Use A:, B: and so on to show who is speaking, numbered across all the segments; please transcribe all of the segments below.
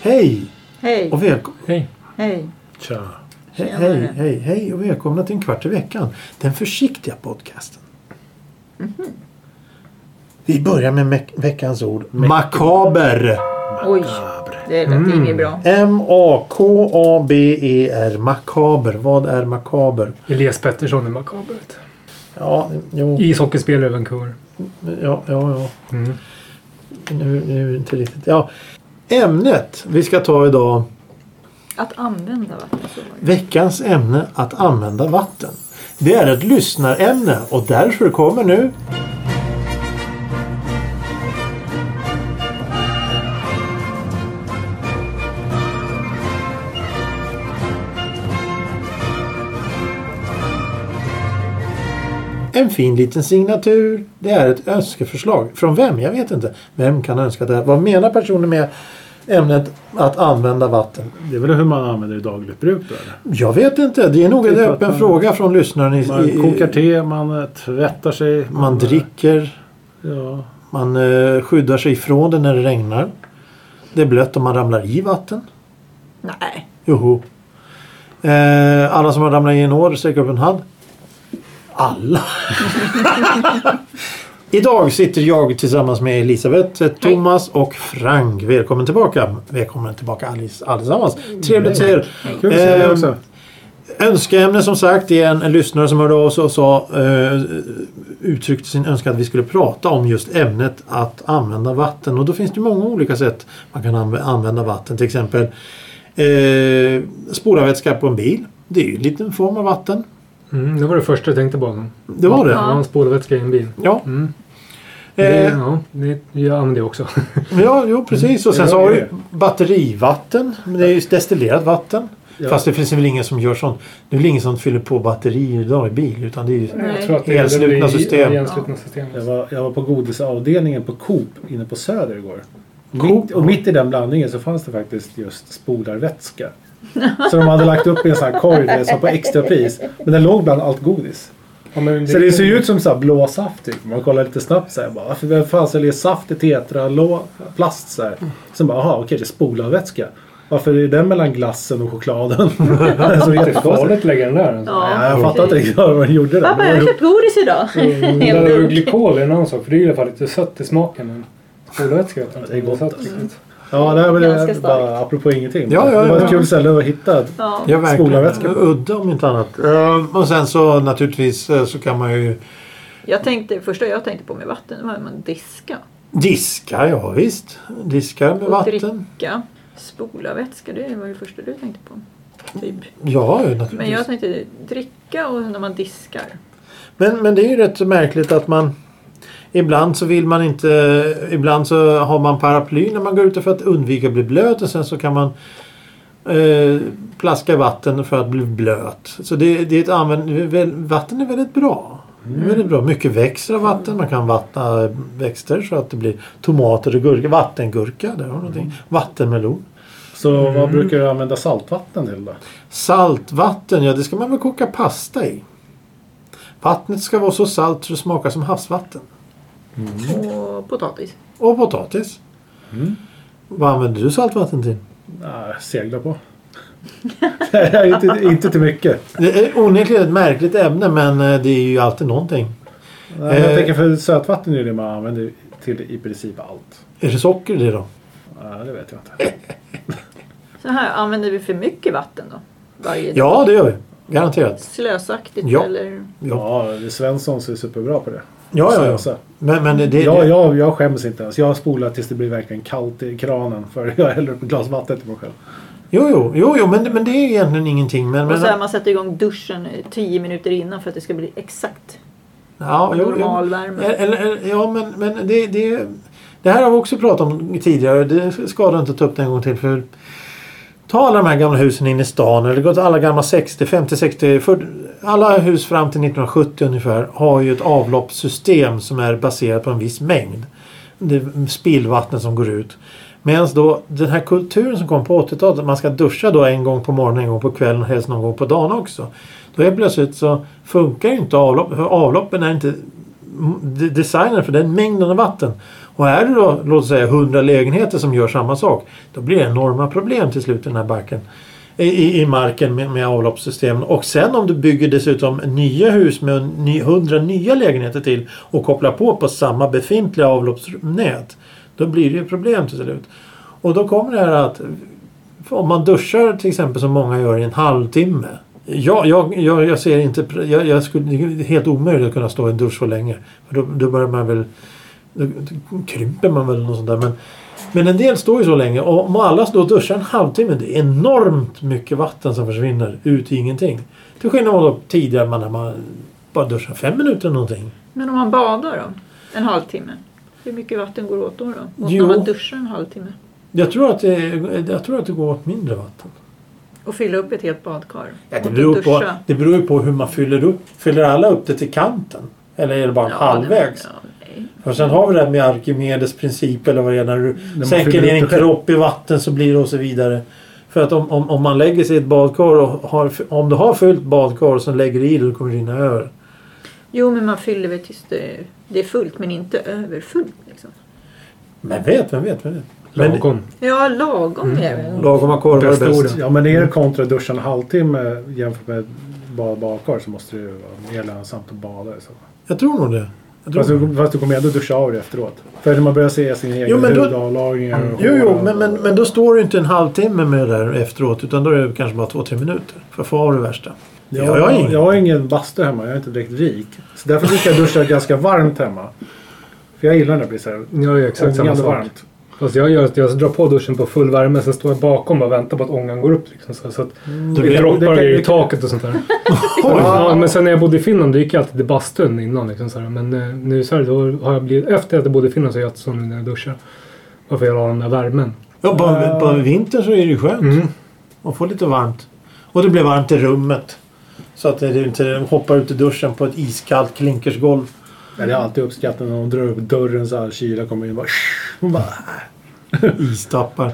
A: Hej
B: Hej,
A: och välkomna.
C: Hej.
B: hej.
C: Tja.
A: Hej,
B: Tjenare.
A: hej, hej, hej och välkomna till en kvart i veckan. Den försiktiga podcasten.
C: Mhm.
A: Vi börjar med me- veckans ord. Makaber.
B: Oj,
C: Makabre.
B: det lät
A: Mm.
B: inget bra.
A: M-A-K-A-B-E-R. E Makaber. Vad är makaber?
C: Elias Pettersson är makabert.
A: Ja, jo,
C: Ishockeyspelare i Vancouver.
A: ja, ja. ja.
C: Mm.
A: Nu, nu inte riktigt. Ja. Ämnet vi ska ta idag.
B: Att använda vatten så var det.
A: Veckans ämne att använda vatten. Det är ett lyssnarämne och därför kommer nu En fin liten signatur. Det är ett önskeförslag. Från vem? Jag vet inte. Vem kan önska det? här? Vad menar personen med ämnet att använda vatten?
D: Det är väl hur man använder det i dagligt bruk? då, Eller?
A: Jag vet inte. Det är nog en
D: Typ att
A: öppen
D: man-
A: fråga från lyssnaren. I, i,
D: Man kokar te, man eh, tvättar sig.
A: Man dricker.
D: Ja.
A: Man eh, skyddar sig ifrån det när det regnar. Det är blött om man ramlar i vatten.
B: Nej,
A: Joho. Eh, alla som har ramlat i en år, sträck upp en hand. Alla. Idag sitter jag tillsammans med Elisabeth, eh, Thomas och Frank. Välkommen tillbaka. Välkommen tillbaka allis, allesammans. Trevligt att se er.
D: Kul att se dig
A: Ehm,
D: också.
A: Önskeämne som sagt är en, en lyssnare som hörde av sig och sa, eh, uttryckte sin önskan att vi skulle prata om just ämnet att använda vatten. Och då finns det många olika sätt man kan anv- använda vatten. Till exempel eh, spolarvätska på en bil. Det är ju en liten form av vatten.
C: Mm, det var det första jag tänkte på.
A: Det var det.
C: Ja. Han spolarvätska i en bil.
A: Ja.
C: Mm. Det,
A: Eh,
C: ja, det jag använder det också.
A: ja, jo precis. Och sen
D: Mm. Ja,
A: så har
D: det
A: vi
D: är
A: batterivatten. Men Det är ju destillerat vatten.
C: Ja.
A: Fast det finns väl ingen som gör sånt. Det är väl ingen som fyller på batterier idag i bil. Utan det är ju...
B: Nej.
A: Helslutna
C: det blir i-
A: system.
C: i anslutna system.
D: Jag var, jag var på godisavdelningen på Coop inne på Söder igår.
A: Coop?
D: Mitt, och mitt i den blandningen så fanns det faktiskt just spolarvätska. Så de hade lagt upp i en sån här korg du vet, som på extrapris. Men den låg bland allt godis.
C: Ja, men
D: Så det ser ju ut som så här blå saft typ. Man kollar lite snabbt så här, bara, varför vem fan säljer saft i tetra, lå, plast så här. Sen bara, aha okej det är spolarvätska. Varför är den mellan glassen och chokladen? den såg
C: Det är
D: jättekonstig ut.
C: farligt att lägga den där. Alltså.
B: Ja.
D: Ja, jag fattar inte riktigt vad de gjorde där.
B: Pappa, jag har köpt godis idag.
C: Mm, Det
B: Helt
C: där med
B: dumt.
C: glykol är en annan sak. För det är ju i alla fall lite sött i smaken. Men spolarvätska vet jag inte.
D: Det är gott,
C: sött
D: alltså.
C: riktigt.
D: Ja, nej, men det
B: Ganska
D: är bara apropå ingenting.
A: Ja, ja,
D: det var
A: ja.
D: ett kul ställe att hitta.
B: Ja.
A: Ja, verkligen.
D: Spolarvätska.
A: Udda om inte annat. Eh, Och sen så naturligtvis eh, så kan man ju
B: Jag tänkte, första jag tänkte på med vatten var att man diska
A: diska, ja visst. Diska med
B: och
A: vatten.
B: dricka. Spola vätska, det var det första du tänkte på. Typ.
A: Ja, naturligtvis.
B: Men jag tänkte dricka och när man diskar.
A: Men, men det är ju rätt så märkligt att man Ibland så vill man inte... Ibland så har man paraply när man går ute för att undvika att bli blöt och sen så kan man eh, plaska i vatten för att bli blöt. Så det, det är ett använd, väl- vatten är väldigt bra. Det är väldigt bra. Mycket växer av vatten. Man kan vattna växter så att det blir tomater och gurka. Vattengurka, där har du någonting. Vattenmelon.
D: Så vad
A: Mm.
D: brukar du använda saltvatten till då?
A: Saltvatten, ja det ska man väl koka pasta i. Vattnet ska vara så salt så det smakar som havsvatten. Mm.
B: Och potatis.
A: Och potatis. Vad använder du saltvatten till?
D: Nej, segla på. Nej, inte, inte till mycket.
A: Det är onekligen ett märkligt ämne men eh, det är ju alltid någonting.
D: Nej, men
A: Eh.
D: jag tänker för sötvatten är ju det man använder till i princip allt.
A: Är det socker det då?
D: Nej, det vet
A: Eh,
D: jag inte.
B: Så här, använder vi för mycket vatten då? Varje dag?
A: Ja det gör vi. Garanterat.
B: Slösaktigt
A: Ja.
B: eller?
A: Ja,
D: Ja, det är Svenssons är superbra på det.
A: ja, ja. ja.
D: Slösa.
A: Men, men det, det,
D: Jag, jag, jag skäms inte ens. Jag spolar tills det blir verkligen kallt i kranen. För jag häller upp ett glas vatten till mig själv.
A: Jo, jo, jo, jo men, men det är egentligen ingenting. Men,
B: Och
A: men,
B: så här, man sätter igång duschen eh, 10 minuter innan för att det ska bli exakt
A: ja, jo, jo.
B: normal värme.
A: Eh, Eller, eller, ja, men, men det, det, det här har vi också pratat om tidigare. Det skadar inte att ta upp det en gång till. För ta alla de här gamla husen inne i stan. Eller gå till alla gamla 60, 50, 60, 40. Alla hus fram till 1970 ungefär har ju ett avloppssystem som är baserat på en viss mängd. det spillvattnet som går ut. Medan då den här kulturen som kom på 80-talet, att man ska duscha då en gång på morgonen, en gång på kvällen och helst någon gång på dagen också. Då är plötsligt så funkar ju inte avlopp, för avloppen är inte de- designade för den mängden av vatten. Och är det då, låt oss säga 100 lägenheter som gör samma sak, då blir det enorma problem till slut i den här backen. I- I, i marken med, med avloppssystemen. Och sen om du bygger dessutom nya hus med ny- 100 nya lägenheter till och kopplar på på samma befintliga avloppsnät. Då blir det ju problem till slut. Och då kommer det här att om man duschar till exempel som många gör i en halvtimme. Jag, jag, jag, jag ser inte... Jag, jag skulle, det är helt omöjligt att kunna stå i en dusch så länge. För då, då börjar man väl... Då krymper man väl något sånt där. Men, men en del står ju så länge. Och om alla står och duschar en halvtimme. Det är enormt mycket vatten som försvinner ut i ingenting. Till skillnad mot då tidigare man, när man bara duschar fem minuter eller någonting.
B: Men om man badar då? En halvtimme? Hur mycket vatten går åt då? då? Och
A: Jo.
B: om man duschar en halvtimme?
A: Jag tror att det, jag tror att det går åt mindre vatten.
B: Och fylla upp ett helt badkar?
A: Ja, det,
B: Och
A: beror
B: duscha?
A: på, det beror ju på hur man fyller upp. Fyller alla upp det till kanten? Eller är det bara
B: Ja,
A: halvvägs?
B: det- ja, nej.
A: Och sen har vi det här med Arkimedes princip eller vad det är. När du
D: man
A: sänker
D: fyller
A: ner
D: upp
A: en
D: det själv.
A: kropp i vatten så blir det och så vidare. För att om, om, om man lägger sig i ett badkar och har, om du har fyllt badkar och sen lägger du i det då kommer det rinna över.
B: Jo, men man fyller väl tills det, det är fullt men inte överfullt. Liksom.
A: Men vet, vem vet, vem vet. Men
C: Lagom.
B: Ja, lagom är det.
A: lagoma korvar är
C: Bästa
A: bäst.
C: ordet.
D: Ja men är det kontra att duscha en halvtimme jämfört med bara badkar så måste det ju vara mer lönsamt att bada. Så.
A: Jag tror nog det. Jag tror
D: Fast, du, fast du kommer ändå duscha av det efteråt. För när man börjar se sin egen
A: Jo, men då-
D: hudavlagringar och
A: Jo,
D: hår
A: jo,
D: och-
A: men, men, men då står du inte en halvtimme med det där efteråt utan då är det kanske bara två, tre minuter. För att få av det värsta.
D: Jag,
A: Ja, jag har ingen-
D: jag har ingen bastu hemma. Jag är inte direkt rik. Så därför brukar jag duscha ganska varmt hemma. För jag gillar när det blir så här
C: Jag gör exakt samma
D: ångande
C: sak.
D: varmt.
C: Fast jag, gör, att jag drar på duschen på full värme, sen står jag bakom och väntar på att ångan går upp. Liksom, så, så att
A: Du
C: det
A: vet-
D: det
C: droppar
D: kan-
C: och grejer
D: det
C: i
D: kan-
C: taket och sånt där. ja, men sen när jag bodde i Finland, då gick jag alltid till bastun innan. Liksom, så här. Men eh, nu i Sverige, då har jag blivit, efter att jag bodde i Finland så är jag alltid så nu när jag duschar. Varför jag har den där värmen.
A: Ja, på, på vintern så är det ju skönt.
C: Mm.
A: Man får lite varmt. Och det blir varmt i rummet. Så att det inte hoppar ut i duschen på ett iskallt klinkersgolv.
D: Men jag har alltid uppskattat när de drar upp dörren så här. Kyla kommer in och bara... Hon bara
A: Istappar.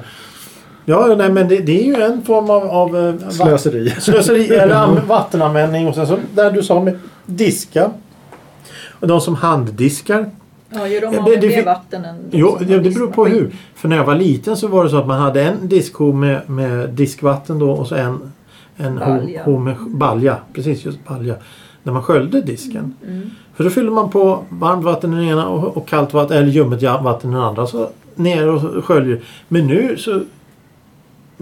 A: Ja, nej, men det, det är ju en form av, av eh, va-
D: slöseri.
A: slöseri eller an- vattenanvändning. Och sen så där du sa med diska. Och de som handdiskar.
B: Ja, gör de
A: Ja,
B: av
A: det-
B: med
A: det
B: mer
A: fin-
B: vatten än de
A: Jo,
B: som
A: det,
B: har
A: det beror på hur. För när jag var liten så var det så att man hade en diskho med, med diskvatten då och så en, en ho,
B: Balja.
A: ho med balja. Precis, just balja. När man sköljde disken.
B: Mm.
A: För då fyller man på varmt vatten i den ena och, och kallt vatten eller ljummet ja- vatten i den andra. Så ner och så sköljer. Men nu så...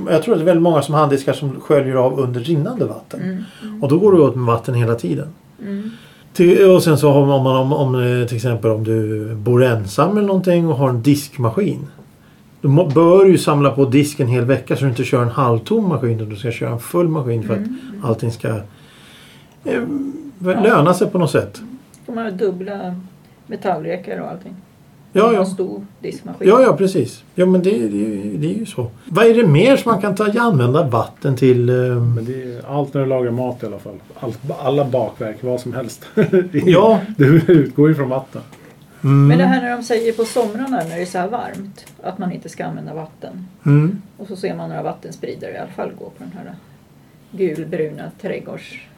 A: Jag tror att det är väldigt många som handdiskar som sköljer av under rinnande vatten.
B: Mm.
A: Och då går det åt med vatten hela tiden.
B: Mm.
A: Till- Och sen så har man om, om, om eh, till exempel om du bor ensam eller någonting och har en diskmaskin. Då må- bör du ju samla på disk en hel vecka så du inte kör en halvtom maskin utan du ska köra en full maskin för
B: Mm.
A: att allting ska eh, löna sig på något sätt.
B: Får man ha dubbla metallräkor och allting.
A: Ja,
B: En
A: ja.
B: stor diskmaskin.
A: Ja, ja precis. Ja, men det, det, det är ju så. Vad är det mer som man kan ta, använda vatten till? eh,
D: Men det är allt när du lagar mat i alla fall. Allt, alla bakverk, vad som helst.
A: Ja.
D: Du utgår ju från vatten.
A: Mm.
B: Men det här när de säger på somrarna när det är så här varmt att man inte ska använda vatten.
A: Mm.
B: Och så ser man några vattenspridare i alla fall gå på den här gulbruna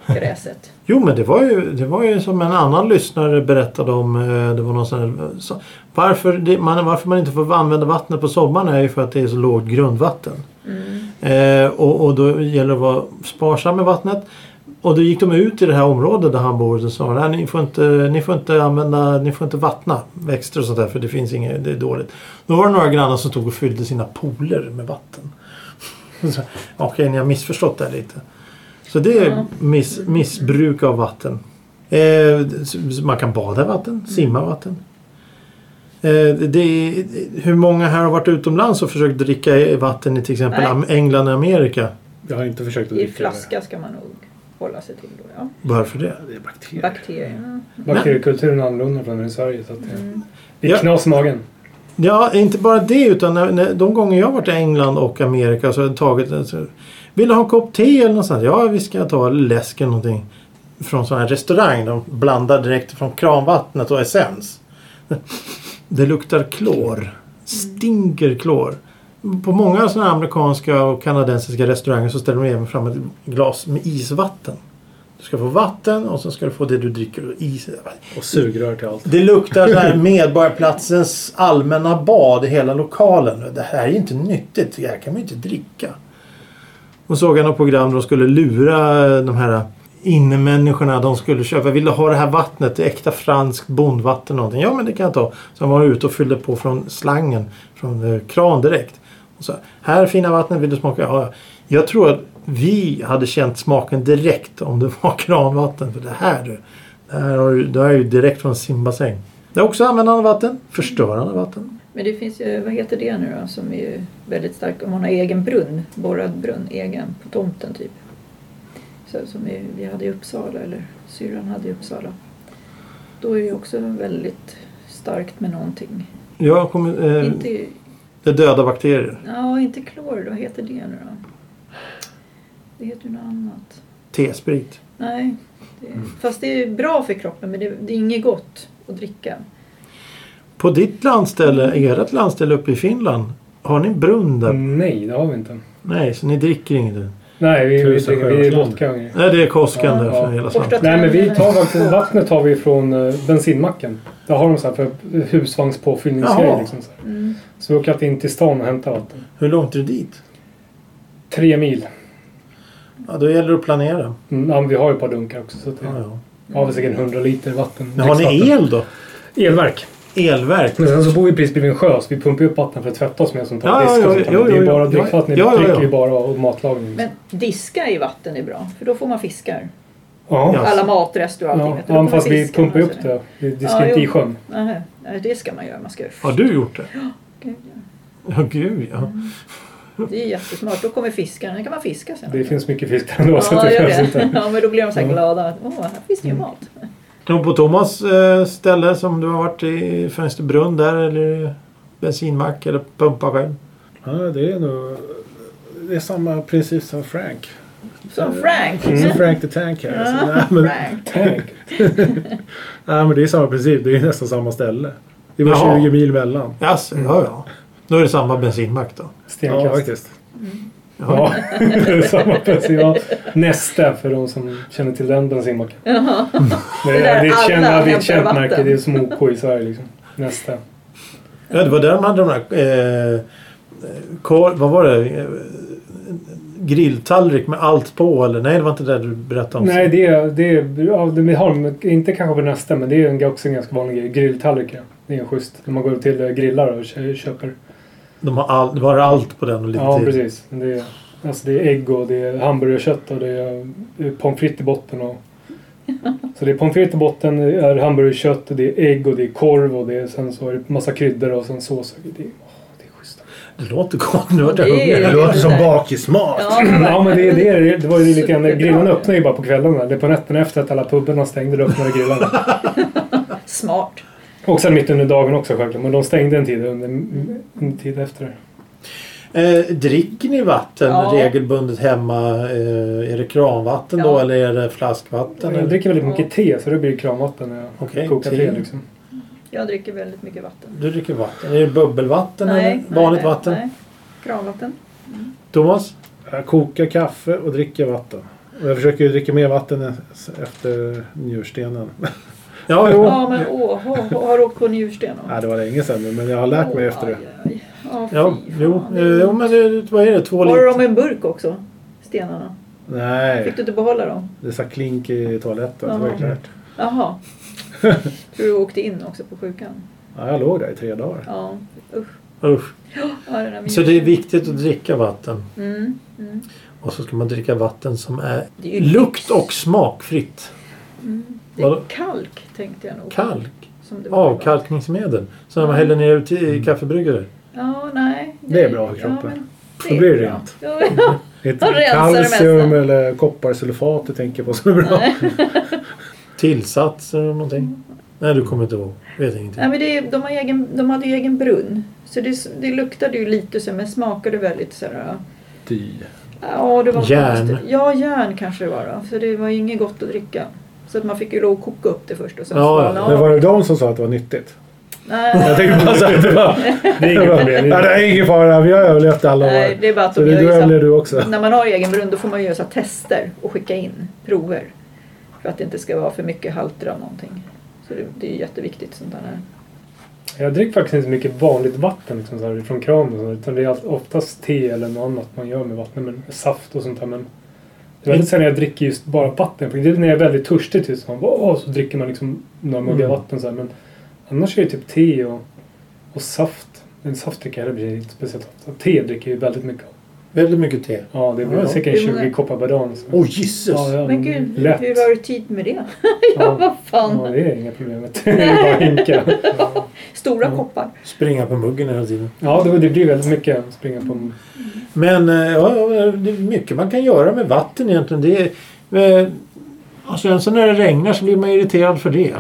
B: trädgårdsgräset.
A: Jo, men det var, ju, det var ju som en annan lyssnare berättade om. eh, Det var någon sån här, eh, så, varför, det, man, varför man inte får använda vattnet på sommaren är ju för att det är så lågt grundvatten. Eh, och, och då gäller det att vara sparsam med vattnet. Och då gick de ut i det här området där han bor och sa att ni får inte, ni får inte använda, ni får inte vattna växter och sånt där för det finns inget, det är dåligt. Då var det några grannar som tog och fyllde sina pooler med vatten. Så, Okej, ni har missförstått det här lite. Så det är
B: Ja.
A: miss, missbruk av vatten. Eh, s- s- man kan bada i vatten, simma i vatten. Eh, det- det är, hur många här har varit utomlands och försökt dricka i vatten i till exempel
B: Nej.
A: Am- England och Amerika?
D: Jag har inte försökt att
B: I
D: dricka
B: flaska ska man nog hålla sig till då. Ja.
A: Varför det?
D: det. Det är bakterier.
B: Bakterierna.
C: Bakteriekulturen är annorlunda från den i Sverige. Så att, eh, det är
A: Ja.
C: knas i magen.
A: Ja, inte bara det utan när, när, de gånger jag har varit i England och Amerika så har jag tagit... Alltså, vill du ha en kopp te eller något sånt? Ja, visst ska jag ta eller läsk eller någonting. Från sån här restaurang. De blandar direkt från kranvattnet och essens. Det luktar klor. Stinker klor. På många sådana här amerikanska och kanadensiska restauranger så ställer de även fram ett glas med isvatten. Du ska få vatten och så ska du få det du dricker. och Is.
D: Och sugrör till allt.
A: Det luktar så här Medborgarplatsens allmänna bad i hela lokalen. Det här är ju inte nyttigt. Det här kan man ju inte dricka. Och såg jag något program där de skulle lura de här innemänniskorna. De skulle köpa. Vill du ha det här vattnet? Det är äkta franskt bondvatten någonting. Ja men det kan jag ta. Så de var ute och fyllde på från slangen. Från eh, kran direkt. Och så, här fina vattnet. Vill du smaka? Ja, ja. Jag tror att vi hade känt smaken direkt om det var kranvatten. För det här du. Det här har ju, det här är ju direkt från simbassäng. Det är också användande av vatten. Förstörande av vatten.
B: Men det finns ju, vad heter det nu då, som är ju väldigt starkt om man har egen brunn, borrad brunn, egen på tomten typ. Så, som vi, vi hade i Uppsala, eller syrran hade i Uppsala. Då är det ju också väldigt starkt med någonting.
A: Jag kommer, eh,
B: Inte,
A: det är döda bakterier.
B: ja, inte klor, vad heter det nu då? Det heter ju något annat.
A: T-sprit.
B: Nej, det,
C: Mm.
B: fast det är ju bra för kroppen men det, det är inget gott att dricka.
A: På ditt landställe, ert landställe uppe i Finland. Har ni en brunn där?
C: Nej, det har vi inte.
A: Nej, så ni dricker inget.
C: Nej, vi, vi,
D: Tusen
C: dricker- vi är
D: sjöklang.
C: vodka och grejer.
A: Nej, det är Koskan där
C: Ja,
A: för hela slanten.
C: Nej, men vi tar faktiskt, vattnet tar vi från eh, bensinmacken. Där har de så här för husvagnspåfyllningsgrejer.
A: Jaha.
C: Liksom, så, här.
B: Mm.
C: så vi åker alltid in till stan och hämtar vatten.
A: Hur långt är det dit?
C: Tre mil.
A: Ja, då gäller det att planera.
C: Mm, ja, men vi har ju ett par dunkar också. Så att det,
A: Ja, ja.
C: har vi säkert 100 liter vatten.
A: Men har ni
C: dricksvatten.
A: el då?
C: Elverk.
A: Elverk?
C: Men sen så bor vi precis bredvid en sjö så vi pumpar upp vatten för att tvätta oss med som tar
A: Ja,
C: disk
A: ja,
C: och sånt.
A: ja,
C: det är
A: ja,
C: bara
A: ja.
C: drickvatten.
A: Ja, ja,
C: vi dricker
A: ja.
C: ju bara och matlagning.
B: Men diska i vatten är bra, för då får man fiskar.
C: ja.
A: Ja.
C: Ja.
B: Alla matrester och allting.
C: Alltså-
B: vet du, då får
C: Ja,
B: man
C: fast vi
B: fiskar,
C: pumpar
B: alltså.
C: upp det. Vi
B: Ja,
C: diskar inte
B: jo.
C: i sjön.
B: Nej, nej, det ska man göra. Man ska göra
A: Har du gjort det?
B: Gud,
A: Ja, gud ja.
B: ja. Det är jättesmart. Då kommer fiskarna. Då kan man fiska sen.
C: Det finns mycket fisk där ändå. så att
B: ja,
C: det
B: gör
C: behövs
B: det.
C: inte. Mm.
B: ja, men då blir de så här glada. att, Åh, här finns det ju mat.
A: Och på Thomas eh, ställe som du har varit i Fönsterbrunn där eller bensinmack eller pumpa själv.
D: Ja, det är nog... Det är samma princip som Frank.
B: Som Frank.
D: Som Frank the Tank här. Så, nej, men,
B: Frank.
C: Tänk.
D: nej, men det är samma princip. Det är nästan samma ställe. Det var
A: Jaha.
D: 20 mil mellan.
A: Jaså, ja ja. Då är det samma bensinmack då.
C: Stenkast.
D: Ja, faktiskt.
C: Ja, det är samma bensin. Ja. Nästa för de som känner till den bensinmacken. Det är, det
B: där
C: är ett
B: alla
C: känt, det är
B: hämtar
C: ett känt
B: vatten.
C: märke. Det är som OK i Sverige liksom. Nästa.
A: Ja, det var där de hade de där... Eh, kor, vad var det? Eh, grilltallrik med allt på eller? Nej, det var inte det du berättade om.
C: Nej, det är... Det är ja, det vi har dem, inte kanske på nästa, men det är en, också en ganska vanlig grej. Grilltallrikar. Det är en schysst. När man går till eh, grillar och kö- köper.
A: De har all, det var allt på den och lite
C: Ja,
A: till.
C: precis. Det är, alltså det är ägg och det är hamburgerkött och det är eh, pommes frites i botten. Och, så det är pommes frites i botten, det är hamburgerkött, och det är ägg och det är korv och det är, sen så är det massa kryddor och sen sås. Det är, åh, det är schysst.
A: Det låter gott. Nu vart jag
B: Det är-
A: hungrig.
D: Det låter som bakismat.
B: Ja,
C: Ja men det, är- det, är- det var ju lite grann,
B: Superbra.
C: grillarna öppnade ju bara på kvällarna. Det är på nätterna efter att alla pubarna stängde, då öppnade grillarna.
B: smart.
C: Och sen mitt under dagen också självklart, men de stängde en tid, under, en tid efter det.
A: Eh, dricker ni vatten
B: Ja.
A: regelbundet hemma? Eh, är det kranvatten då
B: Ja.
A: eller är det flaskvatten?
C: Jag
A: eller?
C: dricker väldigt mycket te, så det blir kranvatten när jag
A: Okej,
C: kokar
A: te.
C: te liksom.
B: Jag dricker väldigt mycket vatten.
A: Du dricker vatten. Är det bubbelvatten
B: Nej,
A: eller vanligt
B: nej,
A: vatten?
B: Nej. Kranvatten.
A: Thomas?
D: Jag kokar kaffe och dricker vatten. Och jag försöker ju dricka mer vatten e- efter njurstenen.
A: Ja, jo.
B: Ja, men åh, har, har du åkt på njursten? då?
D: Nej, det var länge sedan nu, men jag har lärt mig
B: Åh,
D: efter det.
B: aj, aj. Ja, fy
A: Ja,
B: fan.
A: jo, eh, jo, men det, vad är det? Två
B: Har
A: liter?
B: du dem i en burk också? Stenarna?
D: Nej,
B: Fick du inte behålla dem?
D: det sa klink i toaletten. Så var det
B: Jaha.
D: klart.
B: Jaha. Tror du åkte in också på sjukan?
D: Ja, jag låg där i tre dagar.
B: Ja, usch.
A: Usch.
B: Ja, den där
A: Så det är viktigt att dricka vatten.
B: Mm, mm.
A: Och så ska man dricka vatten som är
B: Det är ju Mm.
A: lukt och smakfritt.
B: Det är
A: Vadå?
B: kalk tänkte jag nog.
A: Kalk.
B: Som det Mm. var.
A: Avkalkningsmedel. Som man häller ner ut i kaffebryggare.
B: Ja, nej.
D: Det är bra för kroppen.
B: men
D: Då blir det
B: bra.
D: rent.
B: Ja,
D: Ett
B: De rensar det
D: kalcium
B: mesta.
D: eller kopparsulfat du tänker på som är bra.
A: Tillsatser eller någonting. Nej, du kommer inte ihåg. Vet ingenting.
B: Mm. Nej, men det, är- de, har egen, de hade ju egen brunn. Så det, det luktade ju lite så men smakade väldigt så här.
D: Dy.
B: Ja, det var
A: Järn.
B: konstigt. Ja, järn kanske det var då. Så det var ju inget gott att dricka. Så att man fick ju lov att koka upp det först och sen
A: Ja,
B: svalna
A: ja.
B: av.
D: Men var det de som sa att det var nyttigt?
B: Nej,
D: Jag tänkte bara säga att Alltså, det var...
C: Det är inget problem.
D: Nej, det är ingen fara. Vi har överlevt alla
B: nej,
D: år.
B: det är bara att
D: Så
B: de
D: det
B: gör
D: du
B: ju så här-
D: överlever du också.
B: När man har egen brunn då får man göra så här tester och skicka in prover. För att det inte ska vara för mycket halter av någonting. Så det, det är ju jätteviktigt sånt där.
C: Jag dricker faktiskt inte så mycket vanligt vatten liksom, så här, från kranen. och så, Utan det är allt- oftast te eller något annat man gör med vatten. Men saft och sånt där. Men det är väldigt
A: Mm.
C: sällan jag dricker just bara vatten. För det är när jag är väldigt törstig typ, så, man, bara, "Åh", så dricker man liksom några muggar
D: Mm.
C: vatten. Så här, men annars är det typ te och, och saft. Men saft dricker jag heller inte speciellt ofta. Te dricker jag ju väldigt mycket av.
A: Väldigt mycket te.
C: Ja, det blir
A: Ja, ja.
C: säkert
B: Hur många-
C: 20 koppar per dag. Så.
A: Åh Jesus!
C: ja, ja,
B: Men gud,
C: Mm, lätt.
B: hur har du tid med det? ja,
C: Ja.
B: vad fan.
C: Ja, det är inga problem. Det är bara att hinka.
B: Stora
C: Ja.
B: koppar.
A: Springa på muggen hela tiden.
C: Ja, det, det blir väldigt mycket att springa på.
A: Men eh, ja, ja, det är mycket man kan göra med vatten egentligen. Det är, eh, och sen så när det regnar så blir man irriterad för det.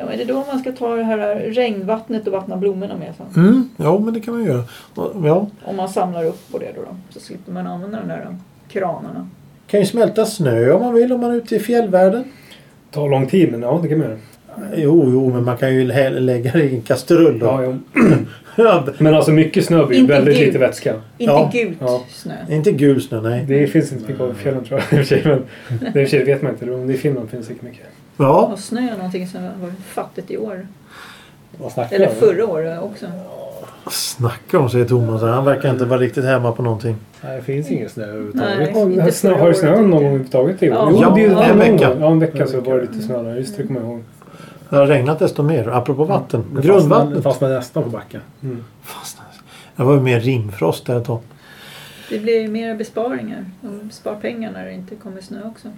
B: Ja, men det är då man ska ta det här regnvattnet och vattna blommorna med sen.
A: Mm, ja, men det kan man göra. Och, ja,
B: Om man samlar upp på det då, då. Så slipper man använda de där kranarna.
A: kan ju smälta snö om man vill om man är ute i fjällvärlden.
C: tar lång tid, men ja, det kan man göra.
A: Jo, jo, men man kan ju hä- lägga det i en kastrull då.
C: Ja, ja.
A: Ja. b-
C: Men alltså mycket snö blir ju
B: Inte
C: väldigt
B: gult.
C: lite vätska.
B: Inte
A: Ja.
B: gult
C: Ja.
B: snö.
A: Inte gul snö, nej.
C: Det finns inte så mycket av i fjällen tror jag i och för sig. Men det i och för sig vet man inte. Om det är i Finland finns det säkert mycket.
A: Ja,
B: Och snö är någonting som var fattigt i år.
D: Vad snackar
B: Eller
D: du om?
B: förra året också.
A: snacka om, säger Thomas. Han verkar inte vara riktigt hemma på någonting.
D: Nej, det finns ingen snö överhuvudtaget.
B: Nej,
C: Och det här
B: inte
C: snö,
B: förra
C: har det
B: året.
C: snöat någon gång
B: tyckte jag.
C: överhuvudtaget i år?
B: Ja.
C: Jo, det är
A: Ja, en
C: någon
A: vecka.
C: gång. Ja, en vecka så var det lite snö där. Just det, kommer jag ihåg.
A: Det har regnat desto mer, apropå vatten.
D: Det
A: Grundvattnet.
D: fastnade- fastnade nästan på backen.
C: Mm.
A: Fastnade. Det var ju mer rimfrost där ett tag.
B: Det blir ju mera besparingar. De spar pengar när det inte kommer snö också.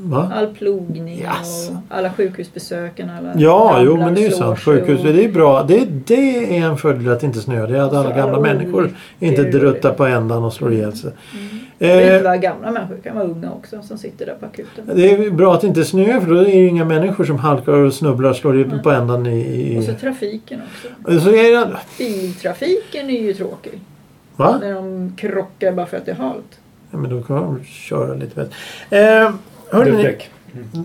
A: Va?
B: All plogning
A: Jaså.
B: och alla sjukhusbesöken. Alla
A: Ja,
B: ramlar
A: jo men det är ju
B: och slår
A: sant.
B: sig
A: Sjukhus,
B: och-
A: det är bra. Det, det är en fördel att det inte snöar. Det är att alla
B: Så
A: gamla
B: alla
A: människor inte
B: olyckor.
A: druttar på ändan och slår ihjäl sig.
B: Mm. Det behöver
A: Eh,
B: inte vara gamla människor, det kan vara unga också som sitter där på akuten.
A: det är bra att det inte snöar för då är det ju inga människor som halkar och snubblar och slår i- på ändan i...
B: Mm. Och så
A: i
B: trafiken också.
A: så är det...
B: Biltrafiken är ju tråkig.
A: Va?
B: När de krockar bara för att det är halt.
A: Ja, men då kan man köra lite bättre. Eh, hörni, ni,
C: Dubbdäck.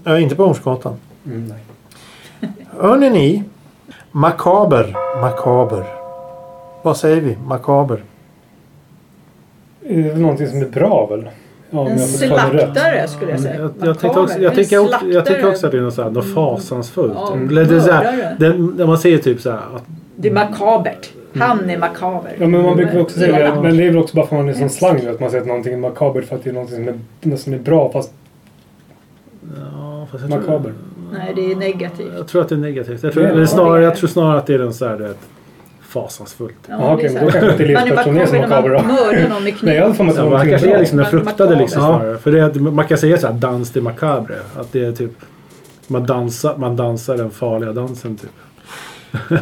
A: ja, inte på Hornsgatan.
C: Mm, nej.
A: Hörni ni, makaber, makaber. Vad säger vi? Makaber.
C: Det är väl någonting som är bra väl? Ja, om
B: En
C: jag får ta det rätt.
B: slaktare skulle jag säga.
D: Jag, jag, tycker också, jag, tycker också, jag tycker också att det är något, så här, något fasansfullt.
B: Mm. Ja,
D: Eller det är så här,
B: mördare.
D: den, när man säger typ så här att
B: Det är makabert. Han är makaber.
C: Ja, men man brukar väl också säga det.
B: Ja.
C: Men det är väl också bara för att man är som slang. Att man säger att någonting är makabert för att det är någonting som är, något som är bra fast
D: ja, fast jag tror-
C: makabert.
B: Nej, det är negativt.
D: Jag tror att det är negativt. Jag tror,
C: Ja,
D: eller
B: det är
D: snarare,
B: det.
D: jag tror snarare att det är den så här, du vet, fasansfullt.
B: Ja,
C: Jaha,
B: det är
C: okej.
B: så
C: men
B: här.
C: Då kanske inte
B: Man är
C: elefantpersonen är så
B: makaber när
C: makaber då.
B: man mördar någon med
C: Nej, jag hade
B: kniv.
C: för mig att det
D: Så
C: var
D: man kanske
C: någonting
D: är
C: bra.
D: liksom den fruktade
B: Makaber.
D: liksom
C: Ja.
D: snarare. För det, är- man kan säga så här dans till macabre. Att det är typ man dansar, man dansar den farliga dansen typ.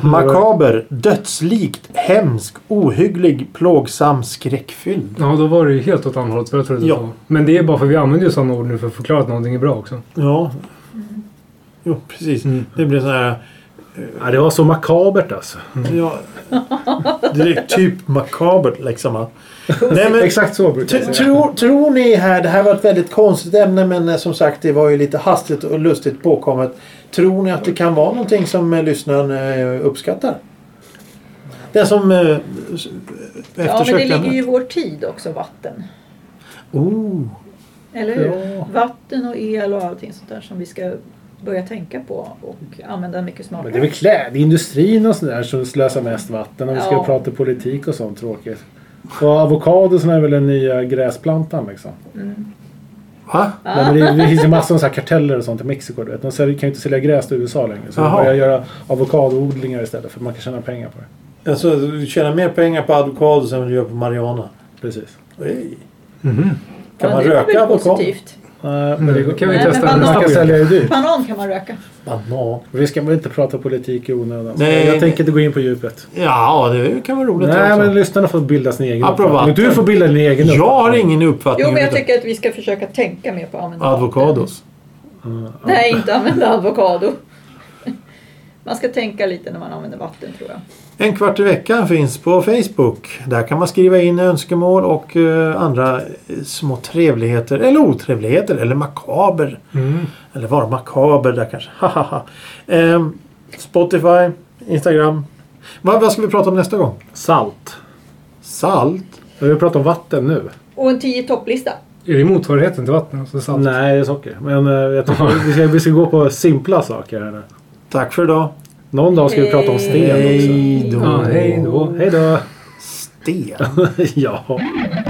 A: Makaber, dödslikt, hemsk, ohygglig, plågsam, skräckfylld.
C: Ja, då var det ju helt åt andra hållet. för jag trodde det
A: Ja.
C: var. Men det är bara för att vi använder ju sådana ord nu för att förklara att någonting är bra också.
A: Ja. Jo, precis.
C: Mm.
A: Det blir så här...
D: Ja, det var så makabert alltså.
A: Ja, det är typ makabert liksom. Nej, men,
D: Exakt så brukar
A: t-
D: jag säga.
A: tror, tror ni här, det här var ett väldigt konstigt ämne men eh, som sagt det var ju lite hastigt och lustigt påkommet. Tror ni att det kan vara någonting som eh, lyssnaren eh, uppskattar? Den som eh, s-
B: Ja, men det
A: eftersökte
B: ligger ju i
A: ämnet.
B: vår tid också, vatten.
A: Oh,
B: Eller hur?
D: Ja.
B: Vatten och el och allting sånt där som vi ska börja tänka på och använda mycket
D: Men det är
B: smartare.
D: väl klädindustrin och sådär som slösar mest vatten om vi ska
B: Ja.
D: prata politik och sånt tråkigt. Och avokadosarna är väl den nya gräsplantan liksom.
A: va?
D: Nej, men det, det finns ju massor av så här karteller och sånt i Mexiko. Du vet. De säljer, kan ju inte sälja gräs till USA längre. Så de
A: Jaha.
D: börjar göra avokadoodlingar istället för att man kan tjäna pengar på det.
A: Alltså, du tjänar mer pengar på avokado än du gör på marijuana.
D: Precis.
A: Ej. Mhm.
B: Ja,
A: Kan man
B: det är väl
A: röka avokado?
B: positivt.
D: Nej, men
C: Men
D: det
C: det kan vi
B: Nej,
C: testa
B: men
C: nästa
D: man kan
C: gång.
D: sälja ju dyrt.
B: Banan kan man röka.
A: Banan.
D: Vi ska väl inte prata politik i onödan. så
A: Nej.
D: jag tänker inte gå in på djupet.
A: Ja, det kan vara roligt
D: Nej,
A: också.
D: men lyssnarna får bilda sin egen
A: Apropå
D: uppfattning. Du
A: vatten.
D: får bilda din egen
A: Jag har
D: uppfattning.
A: ingen uppfattning
B: Jo, men jag
A: om det.
B: tycker att vi ska försöka tänka mer på att använda
A: Avokados.
B: vatten. Nej, inte använda avokado. Man ska tänka lite när man använder vatten tror jag.
A: En kvart i veckan finns på Facebook. Där kan man skriva in önskemål och eh, andra eh, små trevligheter eller Mm. otrevligheter eller makaber. Eller vara makaber där kanske. Hahaha. Ehm, Spotify, Instagram. Vad, vad ska vi prata om nästa gång?
D: Salt.
A: Salt?
D: Vi pratar om vatten nu.
B: Och en tio topplista.
C: Är det motsvarigheten till vatten? Alltså salt?
D: Nej, det är socker. Men eh, jag tycker, vi, ska, vi ska gå på simpla saker här nu.
A: Tack för idag.
D: Någon dag ska vi prata om sten också.
A: Hej då.
C: Ja, hej då.
D: Hej då.
A: Sten.
D: ja.